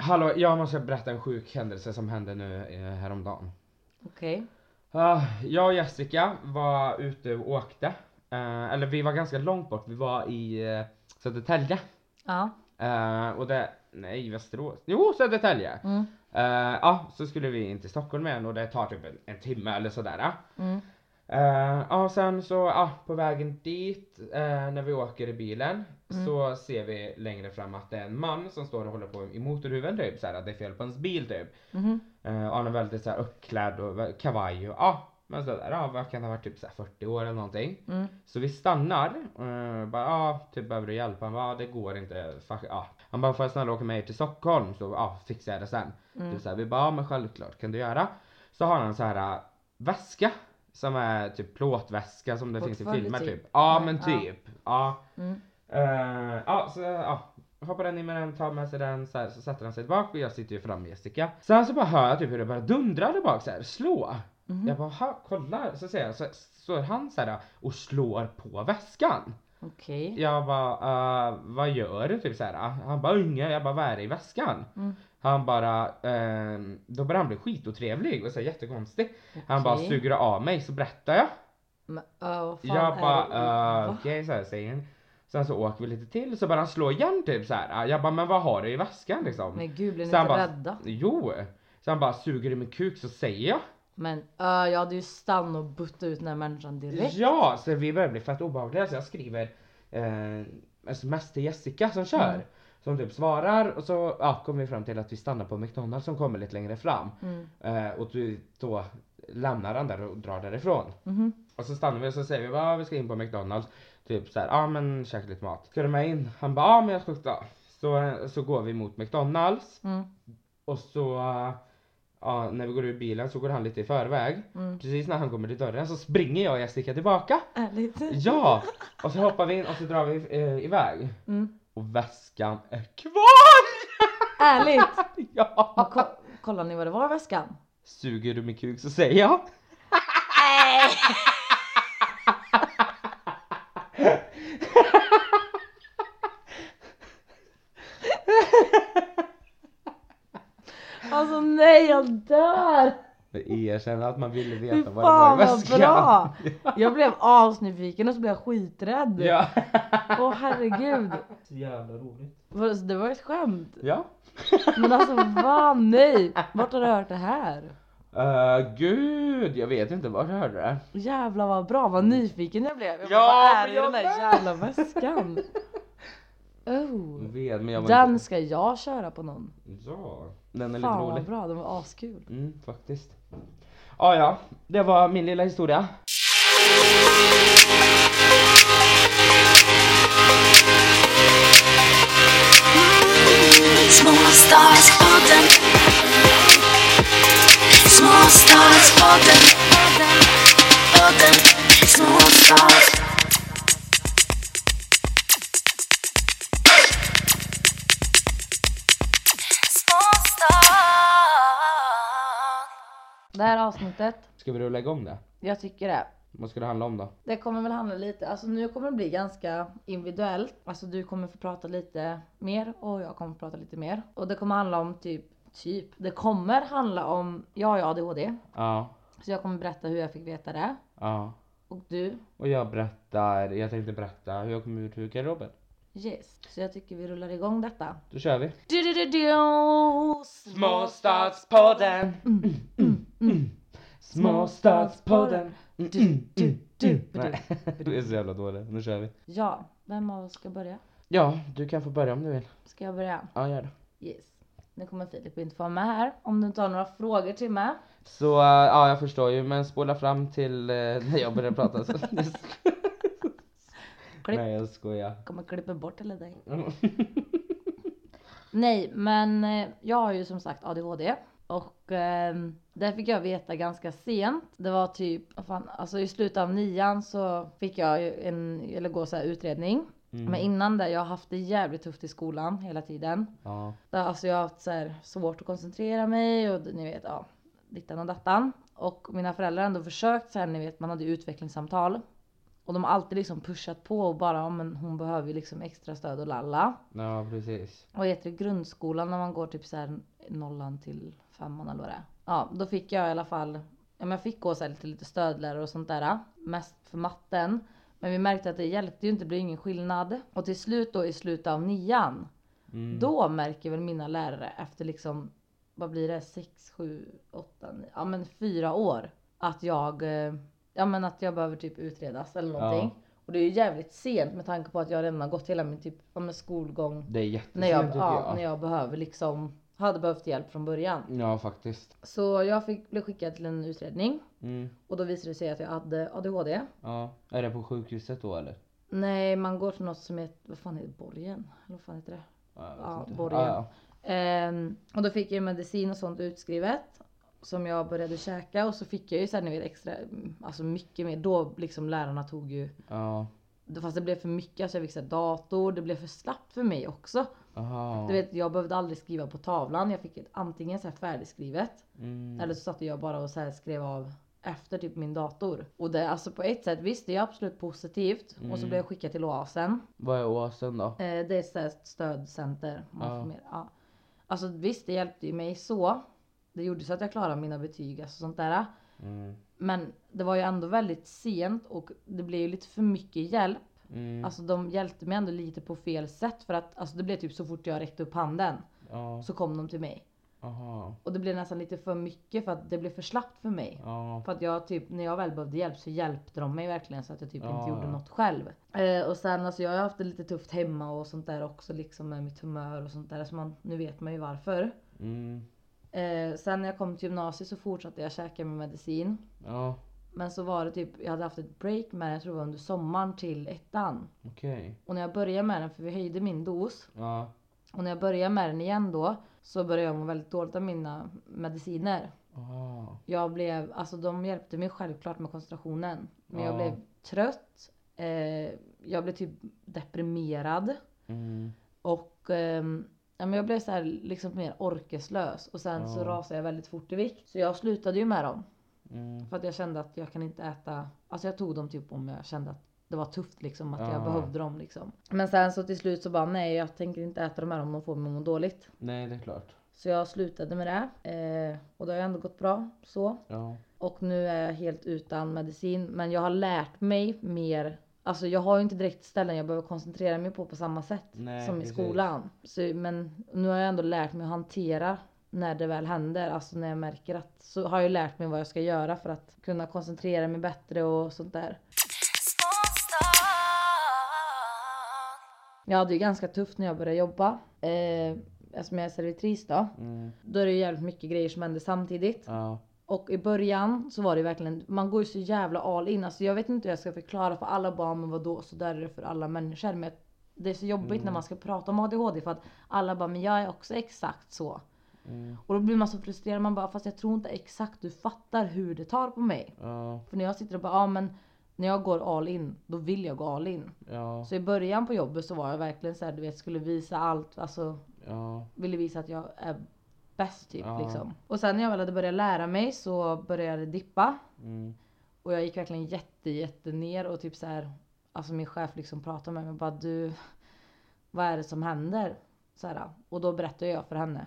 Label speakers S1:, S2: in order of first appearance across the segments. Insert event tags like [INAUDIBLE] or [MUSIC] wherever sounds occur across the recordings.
S1: Hallå, jag måste berätta en sjuk händelse som hände nu eh, häromdagen.
S2: Okej.
S1: Ah, jag och Jessica var ute och åkte. Eh, eller vi var ganska långt bort, vi var i uh, Södertälje.
S2: Ja.
S1: Eh, och det, nej Västerås, jo Södertälje.
S2: Mm.
S1: Eh, Ja, så skulle vi in till Stockholm igen och det tar typ en, en timme eller sådär.
S2: Mm.
S1: Eh, Ja, och sen så ja, på vägen dit eh, när vi åker i bilen så ser vi längre fram att det är en man som står och håller på i motorhuven typ såhär att det är fel på hans bil typ.
S2: Mhm.
S1: Eh, och han är väldigt såhär uppklädd och vä- kavaj och ja, men sådär ja, vad kan det ha varit typ såhär 40 år eller någonting.
S2: Mm.
S1: Så vi stannar, eh, bara ja, typ behöver du hjälp? Han bara ja, det går inte, fuck, ja. Han bara får jag snälla åka med er till Stockholm så ja, fixar jag det sen.
S2: Mm.
S1: Typ så här, vi bara ja men självklart kan du göra. Så har han så här äh, väska som är typ plåtväska som det finns i
S2: Portfölj
S1: filmer typ.
S2: typ.
S1: Ja
S2: Nej,
S1: men
S2: ja.
S1: typ. Ja.
S2: Mm.
S1: Eh, ja, så ja. Hoppar den in med den, tar med sig den så, här, så sätter han sig bak och jag sitter ju fram med Jessica. Sen så bara hör jag typ hur det bara dundrar där bak så här, slå.
S2: Mm. mhm.
S1: Jag bara, "Ha, kolla, så ser jag, så står han så här och slår på väskan.
S2: Okej.
S1: Jag bara, "Eh, vad gör du? Typ så här. Han bara, unge. Jag bara, vad är det i väskan?
S2: Mm.
S1: Han bara, ehm, då började han bli skitotrevlig och så här, jättekonstig. Han bara,
S2: Okej.
S1: suger du av mig så berättar jag.
S2: Men, ja, vad
S1: Jag
S2: fan är det?
S1: bara, uh,
S2: Va?
S1: okej så här säger han. Sen så åker vi lite till så börjar han slå igen typ så här. Jag bara, men vad har du i väskan liksom?
S2: Men gud blir ni
S1: Så
S2: inte
S1: han bara,
S2: rädda?
S1: jo. Så han bara, suger du min kuk så säger jag.
S2: Men ja, jag hade ju stannat och buttat ut den här människan direkt.
S1: Ja, så vi börjar bli fett obehagliga så jag skriver eh, sms till Jessica som kör.
S2: Mm.
S1: Som typ svarar och så ja, kommer vi fram till att vi stannar på McDonalds som kommer lite längre fram.
S2: Mm.
S1: Eh, och du, då lämnar han där och drar därifrån.
S2: Mhm.
S1: Och så stannar vi och så säger vi bara "Ah, vi ska in på McDonalds. Typ såhär, ja ah, men käka lite mat. Ska du med in? Han bara, ja ah, men jag ska också. Så, så går vi mot McDonalds
S2: Mm.
S1: och så eh, ja, när vi går ur bilen så går han lite i förväg.
S2: Mm.
S1: Precis när han kommer till dörren så springer jag och Jessica tillbaka.
S2: Ärligt?
S1: Ja! Och så hoppar vi in och så drar vi eh, iväg.
S2: Mm.
S1: Och väskan är kvar!
S2: Ärligt?
S1: Ja!
S2: Och ko- kollar ni vad det var i väskan?
S1: Suger du min kuk så säger jag.
S2: Nej! Alltså nej, jag dör!
S1: Erkänn att man ville
S2: Fy
S1: veta vad det var i
S2: fan vad
S1: väskan.
S2: bra!
S1: [LAUGHS]
S2: Jag blev asnyfiken och så blev jag skiträdd. Åh
S1: Ja.
S2: herregud.
S1: Så jävla roligt.
S2: Vadå, så Det var ett skämt.
S1: Ja.
S2: Men alltså va, nej! Vart har du hört det här?
S1: Eh, gud, jag vet inte var jag hörde det.
S2: Jävlar vad bra, vad
S1: Mm.
S2: nyfiken jag blev. Jag
S1: Ja,
S2: bara, vad är
S1: men
S2: det i den
S1: jag
S2: där jävla väskan?
S1: Jag
S2: Oh.
S1: vet, men jag var
S2: Den
S1: inte...
S2: ska jag köra på någon.
S1: Ja, den är
S2: Fan
S1: lite
S2: vad
S1: rolig.
S2: bra, den var askul.
S1: Mm, faktiskt. Ah, ja, det var min lilla historia.
S3: Small stars podden. Small stars podden. Podden. Small stars. Small stars.
S2: Det här avsnittet,
S1: Ska vi rulla igång det?
S2: jag tycker det.
S1: Vad ska det handla om då?
S2: Det kommer väl handla lite, alltså nu kommer det bli ganska individuellt. Alltså du kommer få prata lite mer och jag kommer få prata lite mer. Och det kommer handla om typ, typ. Det kommer handla om, jag har ju ADHD.
S1: Ja,
S2: Så jag kommer berätta hur jag fick veta det.
S1: ja.
S2: Och du,
S1: Och jag berättar, jag tänkte berätta hur jag kom ut ur garderoben.
S2: yes. Så jag tycker vi rullar igång detta.
S1: Då kör vi.
S2: Du, du, du, du.
S1: Småstadspodden! Småstadspodden!
S2: du, du, du.
S1: mm. Nej, [LAUGHS] du är så jävla dålig. Nu kör vi.
S2: Ja, vem av oss ska börja?
S1: Ja, du kan få börja om du vill.
S2: Ska jag börja?
S1: Ja, gör det.
S2: Yes. Nu kommer Filip inte få vara med här om du inte har några frågor till mig.
S1: Så äh, ja, jag förstår ju, men spola fram till äh, [LAUGHS] när jag börjar prata. Så.
S2: [LAUGHS] Klipp.
S1: Nej, jag skojar.
S2: [LAUGHS] Kommer klippa bort eller dig.
S1: Mm.
S2: Nej, men eh, jag har ju som sagt ADHD. Och eh, det fick jag veta ganska sent. Det var typ, vad fan, alltså i slutet av nian så fick jag ju en, eller gå så här utredning. Men innan det, jag har haft det jävligt tufft i skolan hela tiden.
S1: Ja.
S2: Där, alltså jag har haft så här, svårt att koncentrera mig och ni vet, ja, dittan och dattan. Och mina föräldrar har ändå försökt så här, ni vet, man hade ju utvecklingssamtal. Och de har alltid liksom pushat på och bara, ja, men hon behöver ju liksom extra stöd och lalla.
S1: Ja precis.
S2: Och heter det grundskolan när man går typ så här nollan till femman eller vad det är. Ja, då fick jag i alla fall, ja, men jag fick gå så här till lite stödlärare och sånt där. Mest för matten. Men vi märkte att det hjälpte ju inte, det blev ingen skillnad. Och till slut då i slutet av nian,
S1: Mm.
S2: då märker väl mina lärare efter liksom, vad blir det, sex, sju, åtta, 9, ja men fyra år. Att jag, eh, ja men att jag behöver typ utredas eller
S1: Ja.
S2: någonting. Och det är ju jävligt sent med tanke på att jag redan har gått hela min typ, ja men skolgång
S1: Det är jättesent
S2: när jag,
S1: tycker
S2: ja,
S1: jag.
S2: när jag behöver liksom, hade behövt hjälp från början.
S1: Ja faktiskt.
S2: Så jag fick, blev skickad till en utredning
S1: Mm.
S2: och då visade det sig att jag hade ADHD.
S1: Ja. Är det på sjukhuset då eller?
S2: Nej, man går till något som heter, vad fan heter det, borgen? Eller vad fan heter det?
S1: Ja, jag vet
S2: Ja,
S1: inte.
S2: borgen.
S1: Ja, ja.
S2: Ehm, och då fick jag medicin och sånt utskrivet. Som jag började käka och så fick jag ju sen ni vet extra, mm, alltså mycket mer. Då liksom lärarna tog ju,
S1: ja.
S2: fast det blev för mycket, alltså jag fick så här dator, det blev för slappt för mig också.
S1: Aha.
S2: Du vet jag behövde aldrig skriva på tavlan, jag fick ett, antingen så här färdigskrivet
S1: Mm.
S2: Eller så satt jag bara och så här skrev av efter typ min dator. Och det, alltså på ett sätt, visst det är absolut positivt. Och så
S1: Mm.
S2: blev jag skickad till Oasen.
S1: Vad är åsen då?
S2: Eh, det är så här ett stödcenter. om Man
S1: Ja.
S2: får mer, ja. Alltså visst det hjälpte ju mig så. Det gjorde så att jag klarade mina betyg alltså sånt där.
S1: Mm.
S2: Men det var ju ändå väldigt sent och det blev ju lite för mycket hjälp.
S1: Mm.
S2: Alltså de hjälpte mig ändå lite på fel sätt för att alltså, det blev typ så fort jag räckte upp handen
S1: ja.
S2: så kom de till mig.
S1: Aha.
S2: Och det blev nästan lite för mycket för att det blev för slappt för mig.
S1: Ja.
S2: För att jag typ, när jag väl behövde hjälp så hjälpte de mig verkligen så att jag typ
S1: Ja,
S2: inte gjorde
S1: ja.
S2: något själv. Eh, och sen alltså jag har haft det lite tufft hemma och sånt där också liksom med mitt humör och sånt där. Så man, nu vet man ju varför.
S1: Mm.
S2: Eh, sen när jag kom till gymnasiet så fortsatte jag käka min medicin.
S1: Ja.
S2: Men så var det typ, jag hade haft ett break med den, jag tror det var under sommaren till ettan.
S1: Okej.
S2: Och när jag började med den, för vi höjde min dos.
S1: Ja.
S2: Och när jag började med den igen då så började jag må väldigt dåligt av mina mediciner.
S1: Aha.
S2: Jag blev, alltså de hjälpte mig självklart med koncentrationen. Men jag
S1: Ja.
S2: blev trött. Eh, jag blev typ deprimerad.
S1: Mm.
S2: Och ehm, ja, men jag blev så här liksom mer orkeslös. Och sen så
S1: Ja.
S2: rasade jag väldigt fort i vikt. Så jag slutade ju med dem.
S1: Mm.
S2: För att jag kände att jag kan inte äta. Alltså jag tog dem typ om jag kände att det var tufft liksom. Att jag
S1: Ja.
S2: behövde dem liksom. Men sen så till slut så bara nej jag tänker inte äta de här om de får mig att må dåligt.
S1: Nej det är klart.
S2: Så jag slutade med det. Eh, och det har ju ändå gått bra så.
S1: Ja.
S2: Och nu är jag helt utan medicin. Men jag har lärt mig mer. Alltså jag har ju inte direkt ställen jag behöver koncentrera mig på på samma sätt
S1: Nej,
S2: som i
S1: precis.
S2: skolan. Så, men nu har jag ändå lärt mig att hantera när det väl händer. Alltså när jag märker att så har jag ju lärt mig vad jag ska göra för att kunna koncentrera mig bättre och sånt där. Jag hade ju ganska tufft när jag började jobba. Eh, eftersom jag är servitris då.
S1: Mm.
S2: Då är det ju jävligt mycket grejer som händer samtidigt.
S1: Ja.
S2: Och i början så var det verkligen, man går ju så jävla all in. Alltså jag vet inte hur jag ska förklara för alla bara, men vadå så där är det för alla människor. Men det är så jobbigt
S1: Mm.
S2: när man ska prata om ADHD för att alla bara, men jag är också exakt så.
S1: Mm.
S2: Och då blir man så frustrerad, man bara, fast jag tror inte exakt du fattar hur det tar på mig.
S1: Ja.
S2: För när jag sitter och bara, ja men när jag går all in, då vill jag gå all in.
S1: Ja.
S2: Så i början på jobbet så var jag verkligen så här, du vet, skulle visa allt, alltså
S1: Ja.
S2: ville visa att jag är bäst typ
S1: Ja.
S2: liksom. Och sen när jag väl hade börjat lära mig så började jag dippa.
S1: Mm.
S2: Och jag gick verkligen jätte, jätte ner och typ så här, alltså min chef liksom pratade med mig och bara du, vad är det som händer? Så här, och då berättade jag för henne.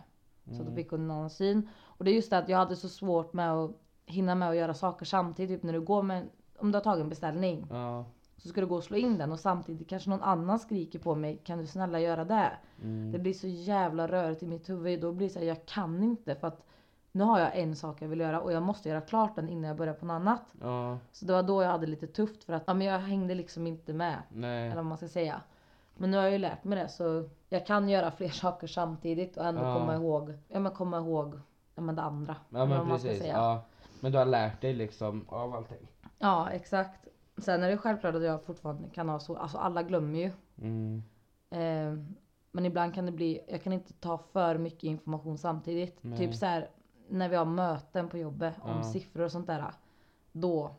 S2: Så då fick hon en annan syn. Och det är just det att jag hade så svårt med att hinna med att göra saker samtidigt. Typ när du går med, om du har tagit en beställning
S1: Ja.
S2: så ska du gå och slå in den och samtidigt kanske någon annan skriker på mig, kan du snälla göra det?
S1: Mm.
S2: Det blir så jävla rörigt i mitt huvud. Då blir det så här, jag kan inte för att nu har jag en sak jag vill göra och jag måste göra klart den innan jag börjar på något annat.
S1: Ja.
S2: Så det var då jag hade lite tufft för att ja, men jag hängde liksom inte med. Eller
S1: Nej.
S2: vad man ska säga. Men nu har jag ju lärt mig det så jag kan göra fler [LAUGHS] saker samtidigt och ändå
S1: Ja.
S2: komma ihåg, ja men komma ihåg ja, men det andra.
S1: Ja
S2: Eller
S1: men
S2: vad man ska
S1: precis.
S2: säga.
S1: Ja. Men du har lärt dig liksom av allting.
S2: Ja, exakt. Sen är det självklart att jag fortfarande kan ha så, alltså alla glömmer ju.
S1: Mm.
S2: Eh, men ibland kan det bli, jag kan inte ta för mycket information samtidigt.
S1: Nej.
S2: Typ så här när vi har möten på jobbet om
S1: Ja.
S2: siffror och sånt där. Då,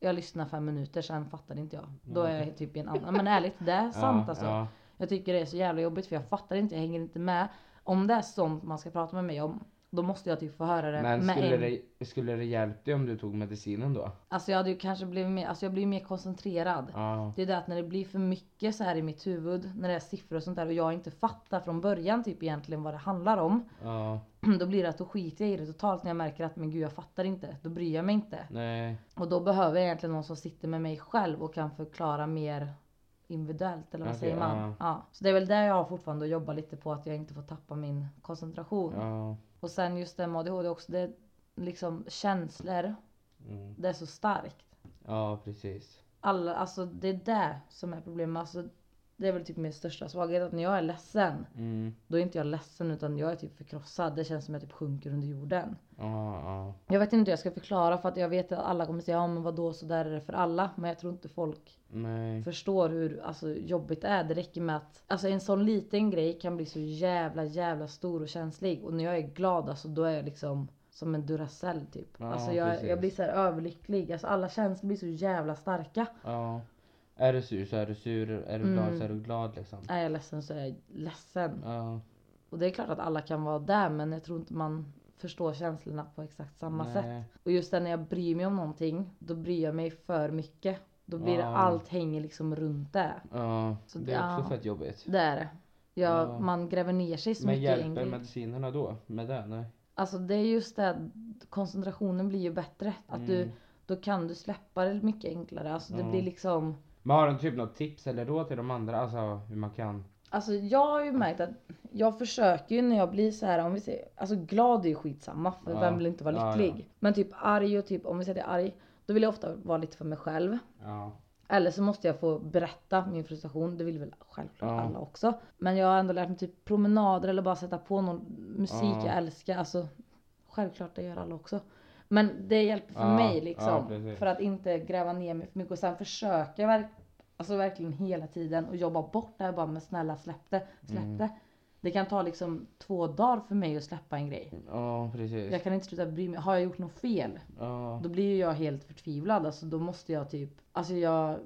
S2: jag lyssnar fem minuter sen fattade inte jag. Då är jag typ i en annan, men ärligt det är sant
S1: Mm. [LAUGHS] ja.
S2: alltså.
S1: Ja.
S2: Jag tycker det är så jävla jobbigt för jag fattar inte, jag hänger inte med. Om det är sånt man ska prata med mig om då måste jag typ få höra det
S1: Men
S2: med
S1: skulle
S2: en.
S1: det, skulle det hjälpt dig om du tog medicinen då?
S2: Alltså jag hade ju kanske blivit mer, alltså jag blir mer koncentrerad.
S1: Ja.
S2: Det är det att när det blir för mycket så här i mitt huvud, när det är siffror och sånt där och jag inte fattar från början typ egentligen vad det handlar om. [CLEARS THROAT]
S1: Ja.
S2: Då blir det att då skiter jag i det totalt när jag märker att men gud jag fattar inte, då bryr jag mig inte.
S1: Nej.
S2: Och då behöver jag egentligen någon som sitter med mig själv och kan förklara mer individuellt eller vad
S1: Okej,
S2: säger man?
S1: ja.
S2: Ja. Så det är väl där jag har fortfarande att jobba lite på att jag inte får tappa min koncentration.
S1: Ja.
S2: Och sen just det med ADHD också, det är liksom känslor,
S1: Mm.
S2: det är så starkt.
S1: Ja, precis.
S2: Alla, alltså det är det som är problemet. Alltså, det är väl typ min största svaghet att när jag är ledsen,
S1: Mm.
S2: då är inte jag ledsen utan jag är typ förkrossad. Det känns som att jag typ sjunker under jorden.
S1: Ja, ja.
S2: Jag vet inte hur jag ska förklara för att jag vet att alla kommer säga ja men vadå så där är det för alla. Men jag tror inte folk
S1: Nej.
S2: förstår hur alltså, jobbigt det är. Det räcker med att alltså, en sån liten grej kan bli så jävla jävla stor och känslig. Och när jag är glad alltså, då är jag liksom som en Duracell typ.
S1: Ja,
S2: alltså, jag,
S1: precis.
S2: jag blir så här överlycklig. Alltså, alla känslor blir så jävla starka.
S1: Ja. Är du sur så är du sur, är du
S2: Mm.
S1: glad så är du glad liksom.
S2: Är jag ledsen så är jag ledsen.
S1: Ja.
S2: Och det är klart att alla kan vara där men jag tror inte man förstår känslorna på exakt samma
S1: Nej.
S2: sätt. Och just det när jag bryr mig om någonting, då bryr jag mig för mycket. Då blir det,
S1: Ja.
S2: allt hänger liksom runt det.
S1: Ja.
S2: Så
S1: det är
S2: ja.
S1: också fett jobbigt.
S2: Det är det. Jag,
S1: Ja.
S2: Man gräver ner sig så
S1: Men
S2: mycket
S1: hjälper
S2: egentligen.
S1: medicinerna då? Med det? Nej.
S2: Alltså det är just det, att koncentrationen blir ju bättre. Att du,
S1: Mm.
S2: då kan du släppa det mycket enklare. Alltså det
S1: Ja.
S2: blir liksom
S1: Men har du typ något tips eller råd till de andra? Alltså hur man kan?
S2: Alltså jag har ju märkt att jag försöker ju när jag blir så här om vi säger, alltså glad är ju skitsamma för
S1: Ja.
S2: vem vill inte vara
S1: Ja,
S2: lycklig.
S1: ja.
S2: Men typ arg och typ om vi säger att jag är arg, då vill jag ofta vara lite för mig själv.
S1: Ja.
S2: Eller så måste jag få berätta min frustration, det vill väl självklart
S1: Ja.
S2: alla också. Men jag har ändå lärt mig typ promenader eller bara sätta på någon musik
S1: Ja.
S2: jag älskar. Alltså självklart det gör alla också. Men det hjälper för
S1: Ja,
S2: mig
S1: ja,
S2: liksom.
S1: precis.
S2: för att inte gräva ner mig för mycket och sen försöka verk- alltså verkligen hela tiden och jobba bort det här bara med snälla släpp det, släpp
S1: Mm.
S2: det. Det kan ta liksom två dagar för mig att släppa en grej.
S1: Ja precis.
S2: Jag kan inte sluta bry mig. Har jag gjort något fel?
S1: Ja.
S2: Då blir ju jag helt förtvivlad. Alltså då måste jag typ, alltså jag,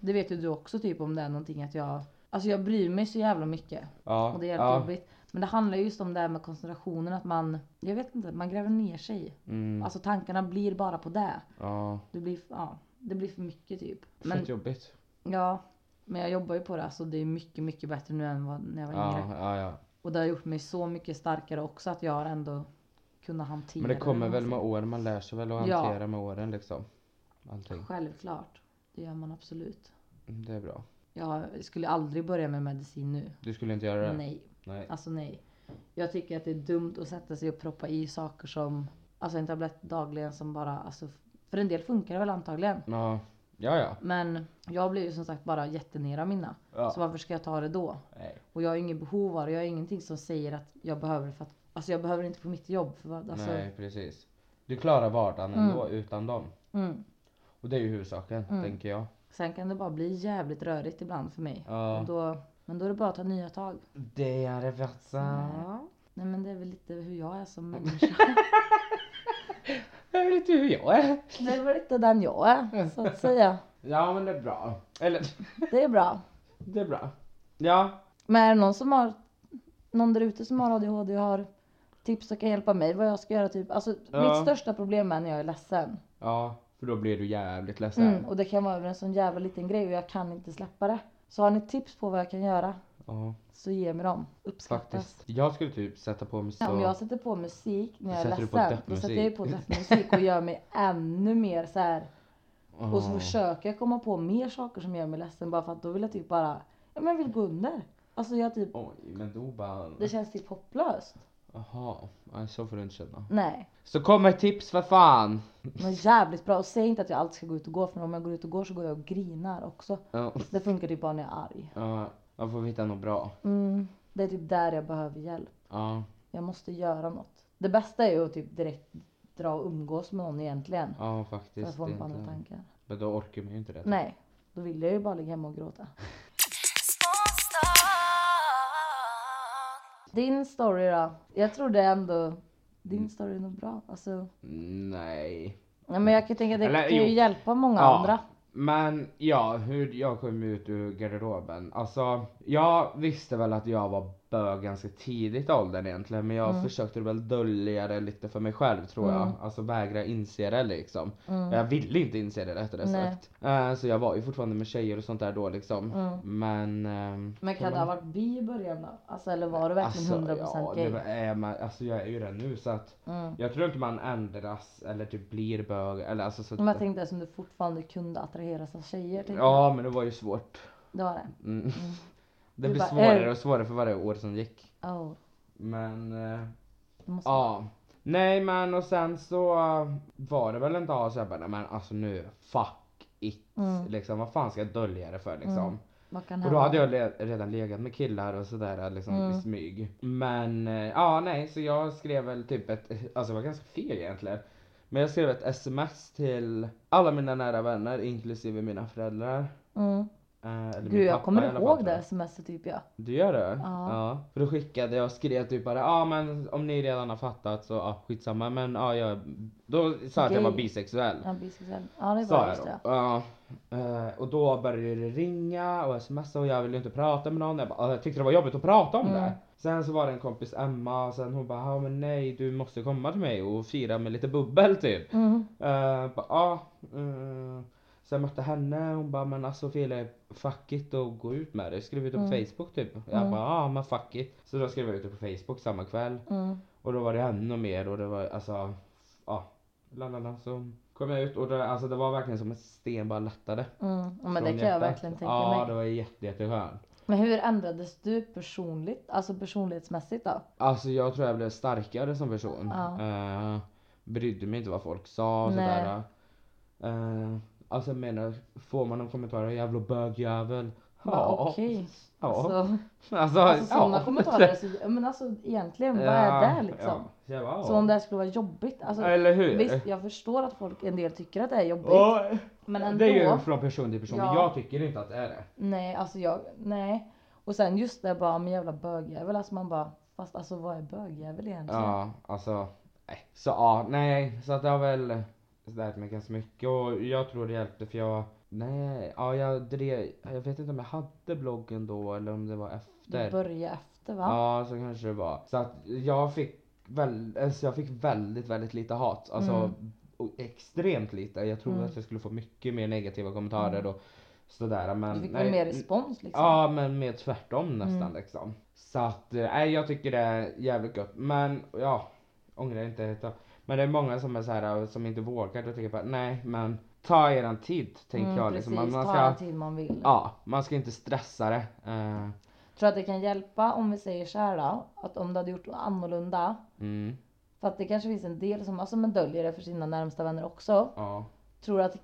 S2: det vet ju du också typ om det är någonting att jag, alltså jag bryr mig så jävla mycket.
S1: Ja.
S2: Och det är jävligt
S1: ja.
S2: jobbigt. Men det handlar ju just om det här med koncentrationen att man, jag vet inte, man gräver ner sig.
S1: Mm.
S2: Alltså tankarna blir bara på det.
S1: Ja.
S2: Det blir, ja, det blir för mycket typ. Men
S1: Fett jobbigt.
S2: ja, men jag jobbar ju på det. Alltså det är mycket, mycket bättre nu än vad, när jag var
S1: Ja,
S2: yngre.
S1: ja, ja.
S2: Och det har gjort mig så mycket starkare också att jag har ändå kunnat hantera
S1: Men det kommer
S2: om
S1: väl
S2: man
S1: med åren, man lär sig väl att
S2: Ja.
S1: hantera med åren liksom.
S2: säger.
S1: Allting.
S2: Självklart. Det gör man absolut.
S1: Det är bra.
S2: Jag skulle aldrig börja med medicin nu.
S1: Du skulle inte göra det?
S2: Nej,
S1: Nej.
S2: alltså nej. Jag tycker att det är dumt att sätta sig och proppa i saker som, alltså en tablett dagligen som bara, alltså för en del funkar det väl antagligen.
S1: Ja. Ja, ja.
S2: Men jag blir ju som sagt bara jättenera mina.
S1: Ja.
S2: Så varför ska jag ta det då?
S1: Nej.
S2: Och jag har inget behov av det. Jag har ingenting som säger att jag behöver det för att, alltså jag behöver det inte på mitt jobb. För vad, alltså,
S1: Nej, precis. Du klarar vardagen ändå utan dem.
S2: Mm.
S1: Och det är ju huvudsaken, tänker jag.
S2: Sen kan det bara bli jävligt rörigt ibland för mig.
S1: Ja.
S2: Och då, men då är det bara att ta nya tag.
S1: Det är det bästa.
S2: Ja. Nej men det är väl lite hur jag
S1: [LAUGHS]
S2: är som människa.
S1: Jag vet inte hur jag är.
S2: Det är väl lite den jag är, så att säga.
S1: Ja, men det är bra. Eller,
S2: Det är bra.
S1: det är bra. Ja.
S2: Men är det någon som har, någon där ute som har ADHD och har tips som kan hjälpa mig vad jag ska göra typ. Alltså
S1: Ja.
S2: mitt största problem är när jag är ledsen.
S1: Ja, för då blir du jävligt ledsen.
S2: Mm, och det kan vara över en sån jävla liten grej och jag kan inte släppa det. Så har ni tips på vad jag kan göra
S1: Ja,
S2: så ge mig dem. Uppskattas.
S1: faktiskt. Jag skulle typ sätta på mig så.
S2: Om jag sätter på musik när jag är
S1: Sätter du på
S2: ledsen, då
S1: deppmusik?
S2: sätter jag ju på deppmusik och gör mig ännu mer så här. Och så
S1: Ja.
S2: försöker jag komma på mer saker som gör mig ledsen bara för att då vill jag typ bara, ja men jag vill gå under. Alltså jag typ,
S1: Oj, men då bara...
S2: det känns typ hopplöst.
S1: Jaha, nej, så får du inte känna.
S2: Nej.
S1: Så kom med tips för fan!
S2: Men jävligt bra. Och säg inte att jag alltid ska gå ut och gå för om jag går ut och går så går jag och grinar också.
S1: Ja,
S2: Det funkar typ bara när jag är arg.
S1: ja, då får vi hitta något bra.
S2: Mm. Det är typ där jag behöver hjälp.
S1: Ja,
S2: Jag måste göra något. Det bästa är ju att typ direkt dra och umgås med någon egentligen.
S1: ja
S2: För
S1: faktiskt.
S2: att få
S1: det
S2: en
S1: är
S2: på andra
S1: inte-
S2: tankar.
S1: Men då orkar man ju inte det.
S2: Nej. Då vill jag ju bara ligga hemma och gråta. Din story då? Jag tror det är ändå... Din
S1: Mm.
S2: story är nog bra. Alltså...
S1: Nej.
S2: Nej men jag kan ju tänka att det
S1: Eller,
S2: kan ju
S1: jo.
S2: hjälpa många andra.
S1: Men ja, hur jag kom ut ur garderoben. Alltså, jag visste väl att jag var bög ganska tidigt i åldern egentligen men jag
S2: Mm.
S1: försökte väl dölja det lite för mig själv tror jag.
S2: Mm.
S1: Alltså vägra inse det liksom.
S2: Mm.
S1: Jag ville inte inse det rättare
S2: Nej.
S1: sagt. Eh, så jag var ju fortfarande med tjejer och sånt där då liksom.
S2: Mm.
S1: Men... ehm,
S2: Men kan det ha varit bi i början då? Alltså eller var du verkligen 100%
S1: ja,
S2: gay?
S1: det var- är man, alltså jag är ju det nu så att
S2: Mm.
S1: jag tror inte man ändras eller typ blir bög eller alltså så att,
S2: Men jag tänkte som du fortfarande kunde attraheras av tjejer. tänkte jag.
S1: Ja men det var ju svårt.
S2: Det var det.
S1: Mm. Det blir
S2: bara,
S1: svårare
S2: "Eh."
S1: och svårare för varje år som gick.
S2: Oh,
S1: Men eh,
S2: Alltså. det måste vara.
S1: ja. Nej men och sen så var det väl en dag så jag bara "Nej, men alltså nu fuck it.
S2: Mm.
S1: Liksom vad fan ska jag dölja det för liksom.
S2: Mm. Vad kan
S1: Och då
S2: hända?
S1: hade jag le- redan legat med killar och sådär liksom i
S2: Mm.
S1: smyg. Men eh, ja nej så jag skrev väl typ ett, alltså jag var ganska feg egentligen. Men jag skrev ett sms till alla mina nära vänner inklusive mina föräldrar.
S2: Mm.
S1: Eh, eller min
S2: Gud
S1: pappa i
S2: jag
S1: alla
S2: kommer
S1: fall,
S2: ihåg
S1: tror jag.
S2: det smset typ ja.
S1: Du gör det?
S2: Ja.
S1: För då skickade jag och skrev typ bara ja ah, men om ni redan har fattat så ah, skitsamma men ja ah, jag Då sa jag att jag var
S2: Gay.
S1: bisexuell.
S2: Ja, bisexuell. Ja det var
S1: Sa
S2: det,
S1: jag
S2: just
S1: då.
S2: det.
S1: Ja. Eh, och då började det ringa och smsa och jag ville inte prata med någon. Jag, bara, ah, jag tyckte det var jobbigt att prata om
S2: Mm.
S1: det. Sen så var det en kompis Emma och sen hon bara ah, men nej du måste komma till mig och fira med lite bubbel typ.
S2: Mm.
S1: Eh, bara, ah, mm. Så jag mötte henne hon bara men alltså Filip fuck it och gå ut med det. Skriv ut det på
S2: Mm.
S1: Facebook typ. Jag
S2: Mm.
S1: bara ah men fuck it. Så då skrev jag ut det på Facebook samma kväll.
S2: Mm.
S1: Och då var det ännu mer och det var alltså ja. La, la, la, så kom jag ut och det, alltså, det var verkligen som en sten bara lättade.
S2: Mm. Ja,
S1: från
S2: men det kan jag
S1: hjärtat.
S2: verkligen tänka
S1: ja, Ja
S2: mig.
S1: det var jätte, jätteskönt.
S2: Men hur ändrades du personligt, alltså personlighetsmässigt då?
S1: Alltså jag tror jag blev starkare som person.
S2: Ja.
S1: Eh, brydde mig inte vad folk sa och
S2: Nej.
S1: sådär. Eh, alltså jag menar, får man någon kommentar jävla bögjävel.
S2: Bara, Okej.
S1: Ja.
S2: Alltså,
S1: [LAUGHS] Alltså,
S2: alltså sådana
S1: ja. [LAUGHS]
S2: kommentarer. är Så, ja, men alltså egentligen, vad är det liksom?
S1: Ja. Jag bara,
S2: Så om det här skulle vara jobbigt. Alltså,
S1: Eller hur?
S2: visst, jag förstår att folk en del tycker att det är jobbigt.
S1: Och-
S2: men ändå.
S1: Det är ju från person till person, men
S2: Ja.
S1: jag tycker inte att det är det.
S2: Nej, alltså jag, nej. Och sen just det bara med jävla bögjävel. Alltså man bara, fast alltså vad är bögjävel egentligen?
S1: Ja, alltså. Nej. Så ja, nej. Så att det har väl lärt mig ganska mycket och jag tror det hjälpte för jag, nej, ja jag drev, jag vet inte om jag hade bloggen då eller om det var
S2: Du
S1: efter.
S2: börjar efter va?
S1: Ja, så kanske det var. Så att jag fick, väl, alltså jag fick väldigt, väldigt lite hat. Alltså
S2: Mm.
S1: o- extremt lite. Jag trodde
S2: Mm.
S1: att jag skulle få mycket mer negativa kommentarer
S2: Mm.
S1: och sådär. Men
S2: du fick
S1: nej, Mm,
S2: väl mer respons liksom?
S1: Ja men mer tvärtom nästan
S2: Mm.
S1: liksom. Så att, eh, nej jag tycker det är jävligt gött. Men ja, ångrar inte ett tag. Men det är många som är så här eh, som inte vågar. Då tycker jag bara nej men ta eran tid tänker
S2: Mm,
S1: jag.
S2: precis,
S1: Liksom. Man, man
S2: ta den
S1: ska,
S2: tid man vill.
S1: ja, man ska inte stressa det. Eh,
S2: Tror att det kan hjälpa om vi säger så här då, att om du hade gjort annorlunda.
S1: mm,
S2: För att det kanske finns en del som alltså, men döljer det för sina närmsta vänner också.
S1: ja.
S2: Tror att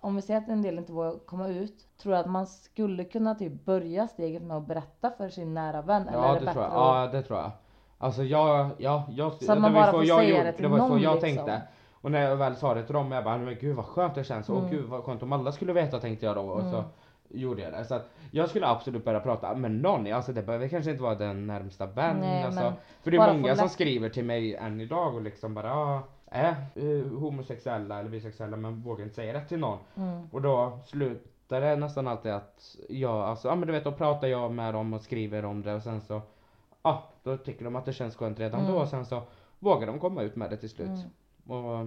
S2: om vi säger att en del inte vågar komma ut, tror att man skulle kunna typ börja steget med att berätta för sin nära vän? eller är
S1: Ja
S2: det
S1: det
S2: bättre
S1: tror jag.
S2: att-
S1: Ja det tror jag. Alltså jag, ja, jag,
S2: Så att
S1: det
S2: man
S1: var ju
S2: bara får
S1: jag
S2: säga
S1: gjorde-
S2: det till
S1: var ju så
S2: någon,
S1: jag
S2: liksom.
S1: tänkte. Och när jag väl sa det till dem, jag bara men gud vad skönt det känns. Och
S2: Mm.
S1: gud vad skönt om alla skulle veta tänkte jag då. Och så
S2: Mm.
S1: gjorde jag det. Så att jag skulle absolut börja prata med någon. Alltså det behöver kanske inte vara den närmsta vän.
S2: Nej,
S1: alltså.
S2: men
S1: För det
S2: bara
S1: är
S2: få
S1: många som
S2: lätt-
S1: skriver till mig än idag och liksom bara ah, är eh, homosexuella eller bisexuella men vågar inte säga det till någon.
S2: Mm.
S1: Och då slutar det nästan alltid att jag, alltså ja men du vet då pratar jag med dem och skriver om det och sen så Ja, då tycker de att det känns skönt redan
S2: Mm.
S1: då och sen så vågar de komma ut med det till slut.
S2: Mm.
S1: Och,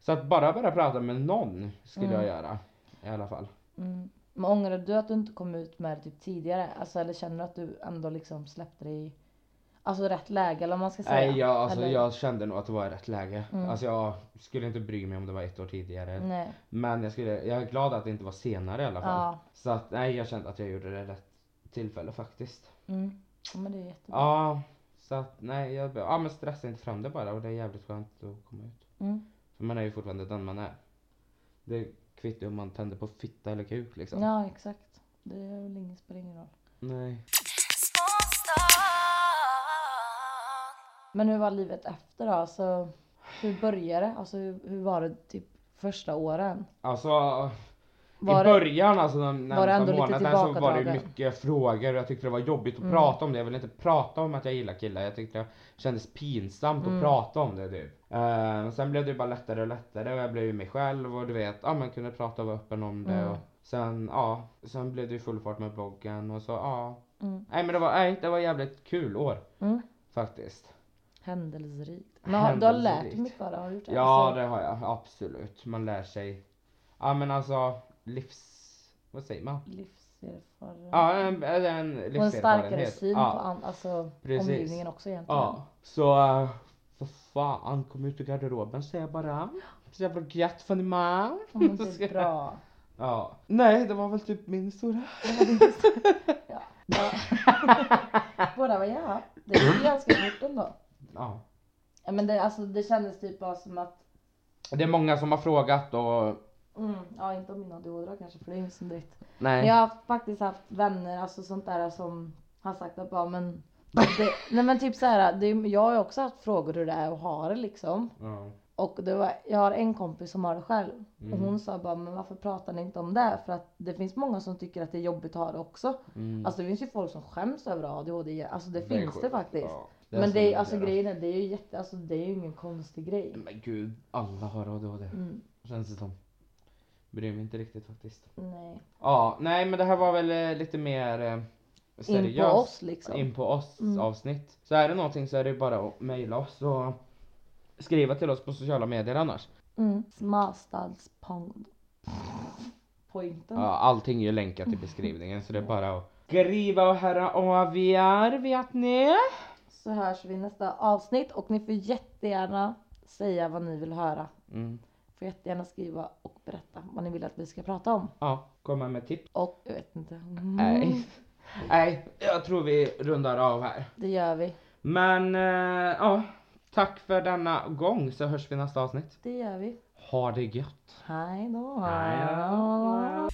S1: så att bara börja prata med någon skulle
S2: Mm.
S1: jag göra i alla fall.
S2: Mm. Men ångrar du att du inte kom ut med det typ tidigare? Alltså, eller känner du att du ändå liksom släppte det i alltså, rätt läge? Eller om man ska säga.
S1: Nej jag, alltså,
S2: eller-
S1: jag kände nog att det var i rätt läge.
S2: Mm.
S1: Alltså jag skulle inte bry mig om det var ett år tidigare.
S2: Nej.
S1: Men jag, skulle, jag är glad att det inte var senare i alla fall.
S2: Ja.
S1: Så att nej jag kände att jag gjorde det rätt tillfälle faktiskt.
S2: Mm. Ja, men det är jättebra.
S1: Ja, så att nej, jag, ja, men stressa inte fram det bara och det är jävligt skönt att komma ut.
S2: Mm.
S1: För man är ju fortfarande den man är. Det kvittar om man tänder på fitta eller kuk liksom.
S2: Ja exakt. Det är väl ingen, spelar ingen roll.
S1: Nej.
S2: Men hur var livet efter då? Alltså, hur började det? Alltså, hur, hur var det typ första åren?
S1: Alltså,
S2: Var
S1: i
S2: det-
S1: början alltså de
S2: var det ändå
S1: närmsta
S2: lite
S1: månaderna så var det ju
S2: tillbakadragen?
S1: mycket frågor och jag tyckte det var jobbigt att
S2: Mm.
S1: prata om det. Jag ville inte prata om att jag gillar killar. Jag tyckte det kändes pinsamt
S2: Mm.
S1: att prata om det typ. Eh, sen blev det ju bara lättare och lättare och jag blev ju mig själv och du vet, ja man kunde prata och vara öppen om det.
S2: Mm.
S1: Och sen, ja, sen blev det ju full fart med bloggen och så ja,
S2: Mm.
S1: Nej men det var, nej, det var jävligt kul år
S2: Mm.
S1: faktiskt.
S2: Händelserikt. Men har, du har lärt dig
S1: Händelserikt.
S2: mycket av det? Har du gjort det? Alltså,
S1: Ja det har jag absolut. Man lär sig. Ja men alltså livs... Vad säger man?
S2: Livserfarenhet.
S1: Ja en, en, en
S2: och en starkare
S1: livserfarenhet.
S2: syn på
S1: Ja,
S2: an, alltså,
S1: Precis.
S2: omgivningen också egentligen.
S1: ja. Så eh, för fan kom ut ur garderoben säger jag bara. Så jävla gött för ni man.
S2: Ja, men det är typ bra.
S1: Ja. Nej det var väl typ min historia.
S2: Ja. [LAUGHS] Båda var ja. Det är ju ganska fort ändå.
S1: Ja.
S2: Ja, Men det, alltså, det kändes typ bara som att
S1: Det är många som har frågat och
S2: Mm, ja inte om min ADHD då kanske för det är inget som direkt. Men
S1: nej.
S2: jag har faktiskt haft vänner, alltså sånt där som har sagt att bara men. Det, nej men typ såhär, det, är- jag har ju också haft frågor hur det är att ha det liksom.
S1: Ja.
S2: Och det var, jag har en kompis som har det själv. Och
S1: Mm.
S2: hon sa bara men varför pratar ni inte om det? För att det finns många som tycker att det är jobbigt att ha det också.
S1: Mm.
S2: Alltså det finns ju folk som skäms över att ha ADHD. Alltså det,
S1: är
S2: finns det
S1: sjukt.
S2: faktiskt.
S1: Ja, är
S2: men
S1: så
S2: det är,
S1: mycket
S2: alltså
S1: då.
S2: grejen är, det är ju jätte, alltså det är ju ingen konstig grej.
S1: Men gud, alla har ADHD.
S2: Mm,
S1: Känns det som. Bryr mig inte riktigt faktiskt.
S2: nej.
S1: Ja, nej men det här var väl eh, lite mer eh, seriöst.
S2: In på oss liksom.
S1: In på oss
S2: Mm.
S1: avsnitt. Så är det någonting så är det ju bara att mejla oss och skriva till oss på sociala medier annars.
S2: Mm. Smarstadspond. Pointen.
S1: Ja, allting är ju länkat i beskrivningen så det är bara att skriva och höra av er vet ni.
S2: Så hörs vi i nästa avsnitt och ni får jättegärna säga vad ni vill höra.
S1: Mm.
S2: Får jättegärna skriva och berätta vad ni vill att vi ska prata om.
S1: Ja, komma med tips.
S2: Och jag vet inte. Mm,
S1: Nej. [LAUGHS] Nej, jag tror vi rundar av här.
S2: Det gör vi.
S1: Men eh, ja, tack för denna gång så hörs vi nästa avsnitt.
S2: Det gör vi.
S1: Ha det gött!
S2: Hej då.
S1: Hej då.